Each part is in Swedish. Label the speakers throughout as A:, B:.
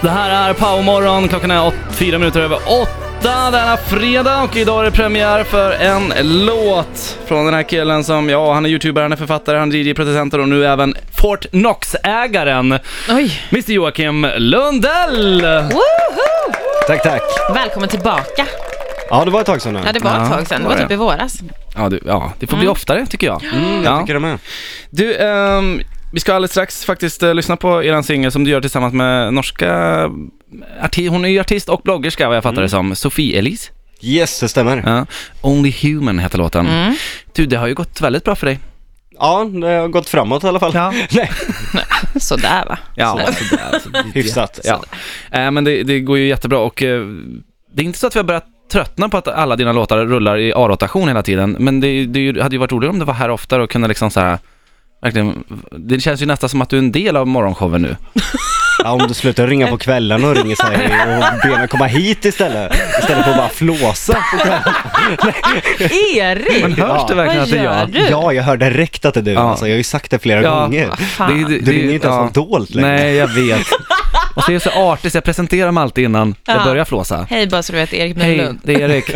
A: Det här är Powermorgon, klockan är åt, fyra minuter över åtta denna fredag och idag är det premiär för en låt från den här killen som, ja han är youtuber, han är författare, han är DJ-producenter och nu även Fortnox-ägaren.
B: Oj,
A: Mr Joakim Lundell!
B: woho!
C: Tack, tack.
B: Välkommen tillbaka.
C: Ja, det var ett tag sedan nu.
B: Ja, det var
A: Ja,
B: ett tag sedan. Det var
A: var
B: typ
A: det.
B: i våras.
A: Ja, du, ja det får bli oftare tycker jag. Mm,
C: Jag
A: ja.
C: tycker det med.
A: Du, ehm, vi ska alldeles strax faktiskt eh, lyssna på er singel som du gör tillsammans med norska arti- hon är ju artist och bloggerska vad jag fattar det som, Sofie Elise.
C: Yes, det stämmer.
A: Ja. Only Human heter låten.
B: Mm.
A: Du, det har ju gått väldigt bra för dig.
C: Ja, det har gått framåt i alla fall.
A: Ja.
C: Nej,
B: Sådär va?
A: Ja, Alltså,
B: Sådär.
A: sådär, sådär.
C: hyfsat.
A: ja. Eh, men det, det går ju jättebra och eh, det är inte så att vi har börjat tröttna på att alla dina låtar rullar i A-rotation hela tiden, men det, är ju- det är ju- hade ju varit roligare om det var här oftare och kunde liksom så här, verkligen, det känns ju nästan som att du är en del av morgonshowen nu.
C: Ja, om du slutar ringa på kvällen och ringer så här och ber mig komma hit istället. Istället för att bara flåsa.
B: Erik!
A: Men hörs det
C: Ja.
A: verkligen
B: Vad
A: att det är
B: gör
A: jag?
B: Du?
C: Ja, jag hör direkt att det är du.
A: Ja.
C: Alltså, jag har ju sagt det flera
A: Ja.
C: gånger.
A: Det,
B: Fan.
A: är- det,
C: Du ringer inte ens
A: ja.
C: ja. dolt längre.
A: Nej, jag vet. Och så är jag så artig så jag presenterar mig alltid innan jag
B: Ja.
A: börjar flåsa.
B: Hej bara så du vet, Erik
A: Hej,
B: Nylund.
A: det är Erik.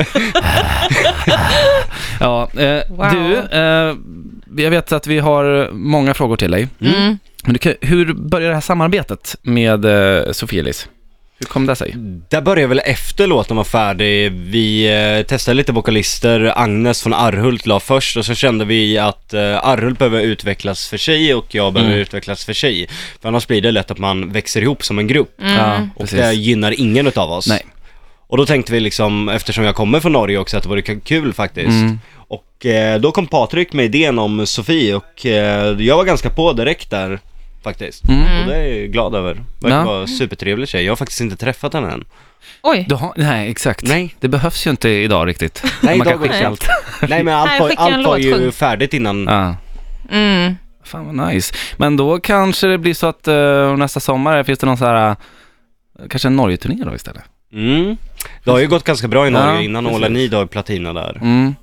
A: ja, eh,
B: Wow.
A: du, eh, jag vet att vi har många frågor till dig.
B: Mm.
A: Men du, kan- hur började det här samarbetet med eh, Sofie Elis? Hur kom det sig?
C: Där började väl efter låten var färdig. Vi eh, testade lite vokalister. Agnes från Arhult la först och så kände vi att eh, Arhult behöver utvecklas för sig och jag behöver
A: Mm.
C: utvecklas för sig. För annars blir det lätt att man växer ihop som en grupp.
A: Ja,
C: Och eh, det gynnar ingen utav oss.
A: Nej.
C: Och då tänkte vi liksom, eftersom jag kommer från Norge också, att det vore k- kul faktiskt.
A: Mm.
C: Och eh, då kom Patrik med idén om Sofie och eh, jag var ganska på direkt där faktiskt.
A: Mm.
C: Och det är jag glad över. Verkar
A: Ja.
C: vara en supertrevlig tjej. Jag har faktiskt inte träffat henne än.
B: Oj,
A: Du har, nej, exakt.
C: Nej.
A: Det behövs ju inte idag riktigt.
C: Nej,
A: Man kan
C: idag går
A: skicka
C: det
A: allt.
C: Nej men
B: Nej,
C: allt var,
B: skicka en
C: allt var
B: låt,
C: ju
B: sjung.
C: färdigt innan.
A: Ja.
B: mm.
A: Fan vad nice. Men då kanske det blir så att eh, nästa sommar finns det någon så här, eh, kanske en Norge-turné då istället?
C: Mm. Det har ju gått ganska bra i Norge
A: Ja,
C: innan
A: precis.
C: Ola Nid har ju platina där.
A: Mm.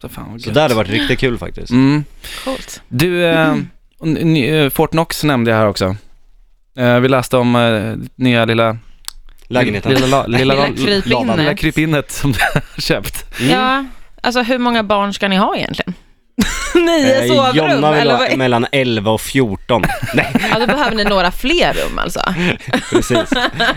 A: Så fan vad
C: Så
A: gött.
C: det hade varit riktigt kul faktiskt.
A: Mm.
B: coolt.
A: Du, eh, och n- ny- eh, Fortnox nämnde jag här också. Eh, vi läste om eh, nya lilla...
C: Lägenheten.
A: Lilla, la- lilla,
B: Lilla
A: la-
B: krypinnet.
A: lilla krypinnet som du har köpt.
B: Ja, alltså hur många barn ska ni ha egentligen? Nio
C: Eh,
B: sovrum,
C: Jonna vill
B: eller vad?
C: ha mellan 11 och 14. Nej.
B: Ja, då behöver ni några fler rum alltså.
C: Precis.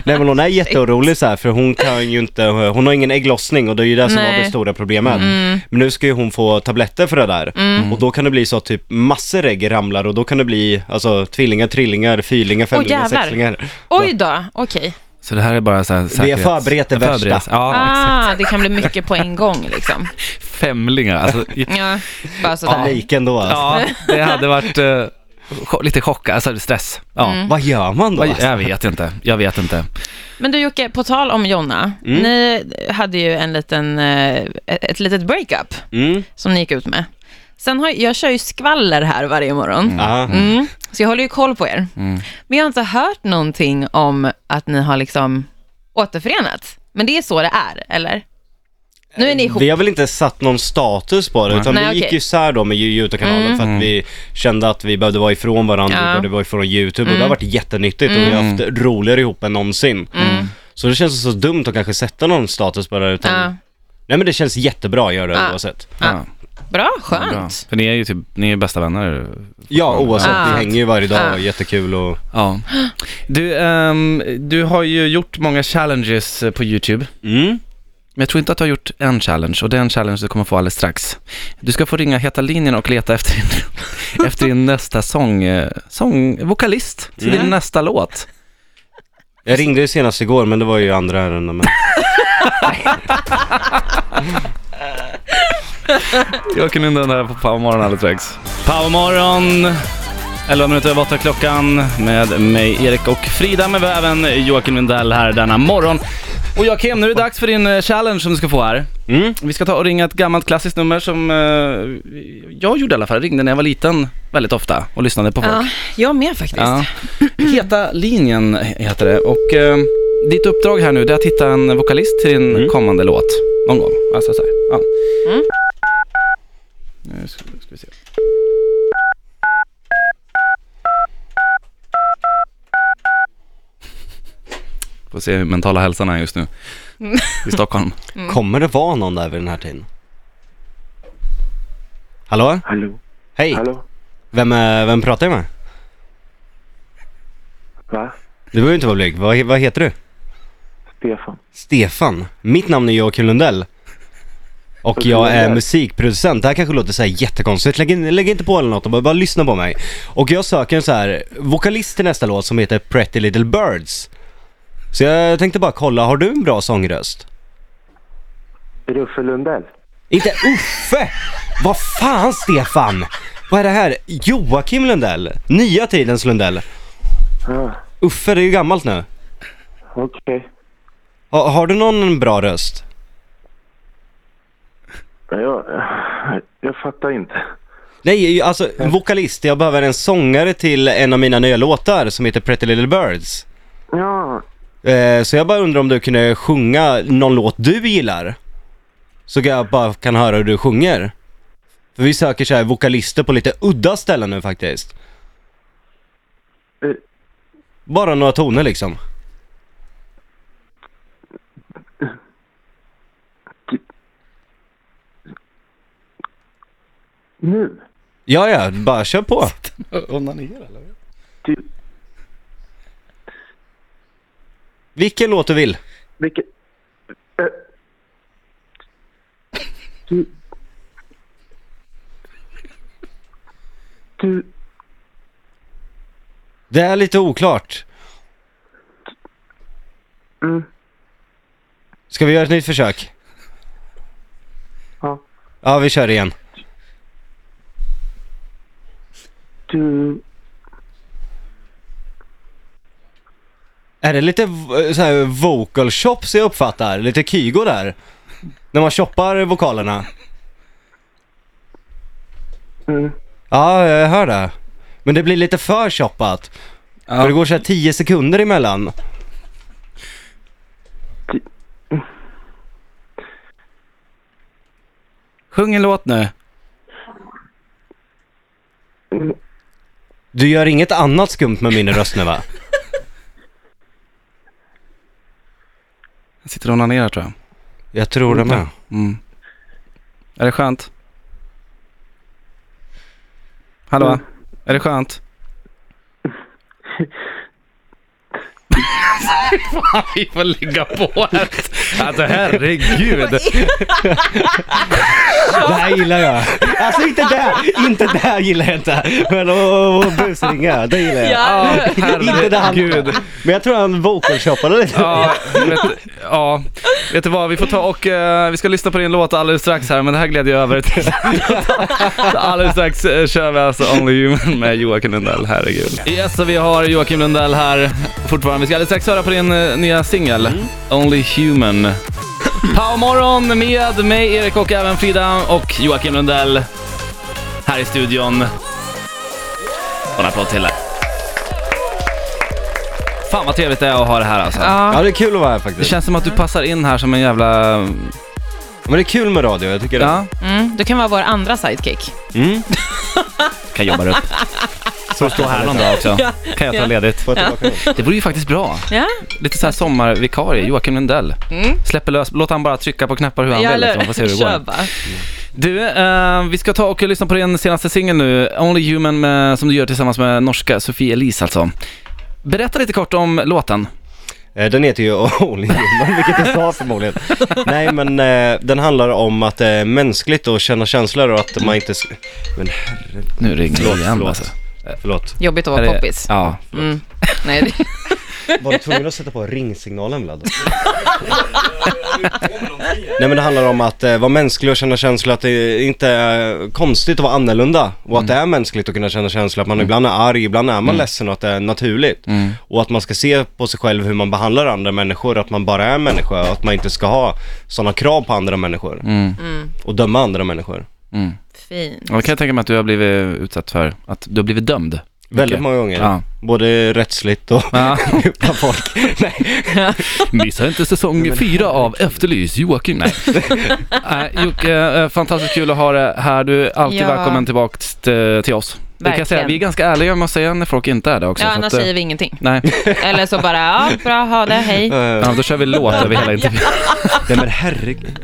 C: Nej men hon är jätteorolig så här för hon kan ju inte, hon har ingen ägglossning och det är ju det som var
B: Nej.
C: det stora problemet. Men nu ska ju hon få tabletter för det där och då kan det bli så att typ massor ägg ramlar och då kan det bli alltså tvillingar, trillingar, fyrlingar, femlingar,
B: jävlar.
C: sexlingar.
B: Oj då, okej.
A: Så det här är bara så här säkerhets-
C: förberett det värsta.
A: Förberedelse. Ja, exakt.
B: Ah, det kan bli mycket på en gång liksom.
A: Femlingar. Alltså, i-
B: Ja, bara sådär.
C: Paniken då alltså.
A: ja, det hade varit eh, cho- lite chock, alltså stress. Ja.
B: Mm.
C: Vad gör man då?
A: Vad-
C: Alltså?
A: Jag vet inte, jag vet inte.
B: Men du Jocke, på tal om Jonna.
A: Mm.
B: Ni hade ju en liten, eh, ett litet breakup
C: Mm.
B: som ni gick ut med. Sen har jag kör ju skvaller här varje morgon.
C: Ja.
B: Mm. Så jag håller ju koll på er.
A: Mm.
B: Men jag har inte hört någonting om att ni har liksom återförenats. Men det är så det är, eller? Nu är ni
A: Eh,
B: ihop.
C: Vi har väl inte satt någon status på det utan
B: Nej,
C: vi
B: okej.
C: gick
B: Mm.
C: ju isär då med Youtube-kanalen för att vi kände att vi behövde vara ifrån varandra, vi
B: Ja. Mm.
C: behövde vara ifrån Youtube och det har varit jättenyttigt och vi har haft roligare ihop än någonsin. Så det känns så dumt att kanske sätta någon status på det utan
B: Ja.
C: Nej men det känns jättebra att göra det
B: Ja.
C: oavsett.
A: Ja.
B: Bra,
A: Bra.
B: Ah, skönt.
A: För ni är ju typ, ni är ju bästa vänner.
C: Ja oavsett,
B: Ja.
C: vi hänger ju varje dag
B: Ja.
C: och jättekul och
A: Ja. Du, ehm, du har ju gjort många challenges eh, på YouTube.
C: mm.
A: Men jag tror inte att du har gjort en challenge och den challenge du kommer få alldeles strax. Du ska få ringa Heta linjen och leta efter din, efter din nästa sång, eh, sång, vokalist till din
C: Mm.
A: nästa låt.
C: Jag ringde ju senast igår men det var ju andra ärenden men
A: Jag kunde inte undra på Powermorgon alldeles strax. Powermorgon, 11 minuter över 8 klockan med mig Erik och Frida men vi har även Joakim Lundell här denna morgon. Och Joakim, nu är det dags för din eh, challenge som du ska få här.
C: mm.
A: Vi ska ta och ringa ett gammalt klassiskt nummer som eh, jag gjorde i alla fall, ringde när jag var liten väldigt ofta och lyssnade på folk.
B: Ja, jag med faktiskt.
A: Ja. Heta linjen heter det och eh, ditt uppdrag här nu det är att hitta en vokalist till din
C: Mm.
A: kommande låt någon gång. Alltså så här. Ja. Nu ska, ska vi se. Får se hur mentala hälsan är just nu. I Stockholm.
B: Mm.
C: Kommer det vara någon där vid den här tiden? Hallå?
D: Hallå?
C: Hej!
D: Hallå?
C: Vem, eh, vem pratar jag med?
D: Va?
C: Du behöver inte vara blyg. Vad, he- vad heter du?
D: Stefan?
C: Stefan. Mitt namn är Joakim Lundell. Och jag är musikproducent. Det här kanske låter så här jättekonstigt. Lägg, in- lägg inte på eller något, bara, bara lyssna på mig. Och jag söker en så här vokalist till nästa låt som heter Pretty Little Birds. Så jag tänkte bara kolla, har du en bra sångröst?
D: Ruffe Lundell?
C: Inte Uffe! Vad fan Stefan! Vad är det här? Joakim Lundell? Nya tidens Lundell.
D: Ja,
C: Uffe, det är ju gammalt nu.
D: okej.
C: Ha, har du någon bra röst?
D: Ja, Jag, jag fattar inte.
C: Nej, alltså vokalist. Jag behöver en sångare till en av mina nya låtar som heter Pretty Little Birds.
D: Ja,
C: Eh, så jag bara undrar om du kunde sjunga någon låt du gillar? Så jag bara kan höra hur du sjunger. För vi söker så här vokalister på lite udda ställen nu faktiskt.
D: eh,
C: Bara några toner liksom.
D: nu?
C: Ja, ja, bara kör på.
D: Du,
C: Vilken låt du vill.
D: vilket... eh, Du... Du...
C: Det är lite oklart.
D: Mm,
C: Ska vi göra ett nytt försök?
D: ja.
C: Ja, vi kör igen.
D: Du...
C: Är det lite v- eh, så här vocal chops jag uppfattar? Lite Kygo där? När man choppar vokalerna?
D: Mm,
C: Ja, jag hör det. Men det blir lite för choppat.
A: Ja.
C: För det går så här 10 sekunder emellan.
A: Sjung en låt nu.
C: Du gör inget annat skumt med min röst nu va?
A: Jag sitter och onanerar tror jag.
C: Jag tror det med.
A: Mm. Är det skönt? Hallå?
C: Mm.
A: Är det skönt? Fan, vi får lägga på här. Alltså herregud.
C: Det här gillar jag. Alltså inte det, inte det här gillar jag inte. Men åh, åh, busringa, det gillar jag.
B: Ja.
C: Inte det han,
A: Herregud.
C: men jag tror han vocal choppade lite.
A: Ja, vet, ja, vet du vad, vi får ta och eh, vi ska lyssna på din låt alldeles strax här, men det här gled jag över till. Så alldeles strax eh, kör vi alltså Only Human med Joakim Lundell, herregud. Yes, så vi har Joakim Lundell här fortfarande. Vi ska alldeles strax höra på din eh, nya singel, Only Human. Powermorgon med mig Erik och även Frida och Joakim Lundell här i studion. Och en applåd till er. Fan vad trevligt det är att ha det här alltså.
B: Ja.
C: Ja det är kul att vara här
A: Det
C: faktiskt.
A: känns som att du passar in här som en jävla...
C: Men det är kul med radio, jag tycker det.
A: Ja,
B: Mm, du kan vara vår andra sidekick.
C: Mm.
A: kan jobba upp. Får stå här någon dag också. Kan jag ta
B: Ja.
A: ledigt.
C: Får jag tillbaka den?
A: Det vore ju faktiskt bra.
B: Ja,
A: Lite så här sommarvikarie, Joakim Lundell.
B: Mm.
A: Släpper lös, låt han bara trycka på knappar hur han
B: ja
A: vill liksom. Får se hur det
B: Kör
A: går.
B: bara.
A: Du, eh, vi ska ta och lyssna på din senaste singel nu, Only Human, med, som du gör tillsammans med norska Sofie Elise alltså. Berätta lite kort om låten.
C: Eh, Den heter ju Only Human, vilket jag sa förmodligen. Nej men eh, den handlar om att det är mänskligt att känna känslor och att man inte... sk- Men herre,
A: Nu ringer det igen
C: förlåt.
A: alltså.
C: förlåt.
B: Jobbigt att
A: Är
B: vara
A: det-
B: poppis.
A: Ja.
B: Mm. Nej, det...
C: Var du tvungen att sätta på ringsignalen Vlad? Nej men det handlar om att eh, vara mänsklig och känna känslor, att det inte är konstigt att vara annorlunda. Och att det är
A: Mm.
C: mänskligt att kunna känna känslor, att man ibland är arg, ibland är man ledsen och att det är naturligt.
A: Mm.
C: Och att man ska se på sig själv hur man behandlar andra människor, att man bara är människa och att man inte ska ha sådana krav på andra människor.
A: Mm.
C: Och döma andra människor.
B: Fint.
A: Och då kan jag tänka mig att du har blivit utsatt för, att du har blivit dömd.
C: Väldigt
A: Mycket.
C: många gånger.
A: Ja.
C: Både rättsligt och
A: Ja.
C: bland folk. Nej.
A: Missa inte säsong fyra av Efterlys, Joakim. Nej. Nej, Jocke, eh, fantastiskt kul att ha dig här. Du är alltid
B: Ja.
A: välkommen tillbaka till, till oss. Det kan jag säga.
B: Verkligen.
A: Vi är ganska ärliga med att säga när folk inte är det också.
B: Ja,
A: så
B: annars
A: att, eh,
B: säger vi ingenting.
A: Nej,
B: Eller så bara, ja, bra, ha det, hej.
C: Eh,
A: ja, då kör vi låt över hela intervjun.
C: Nej men herregud.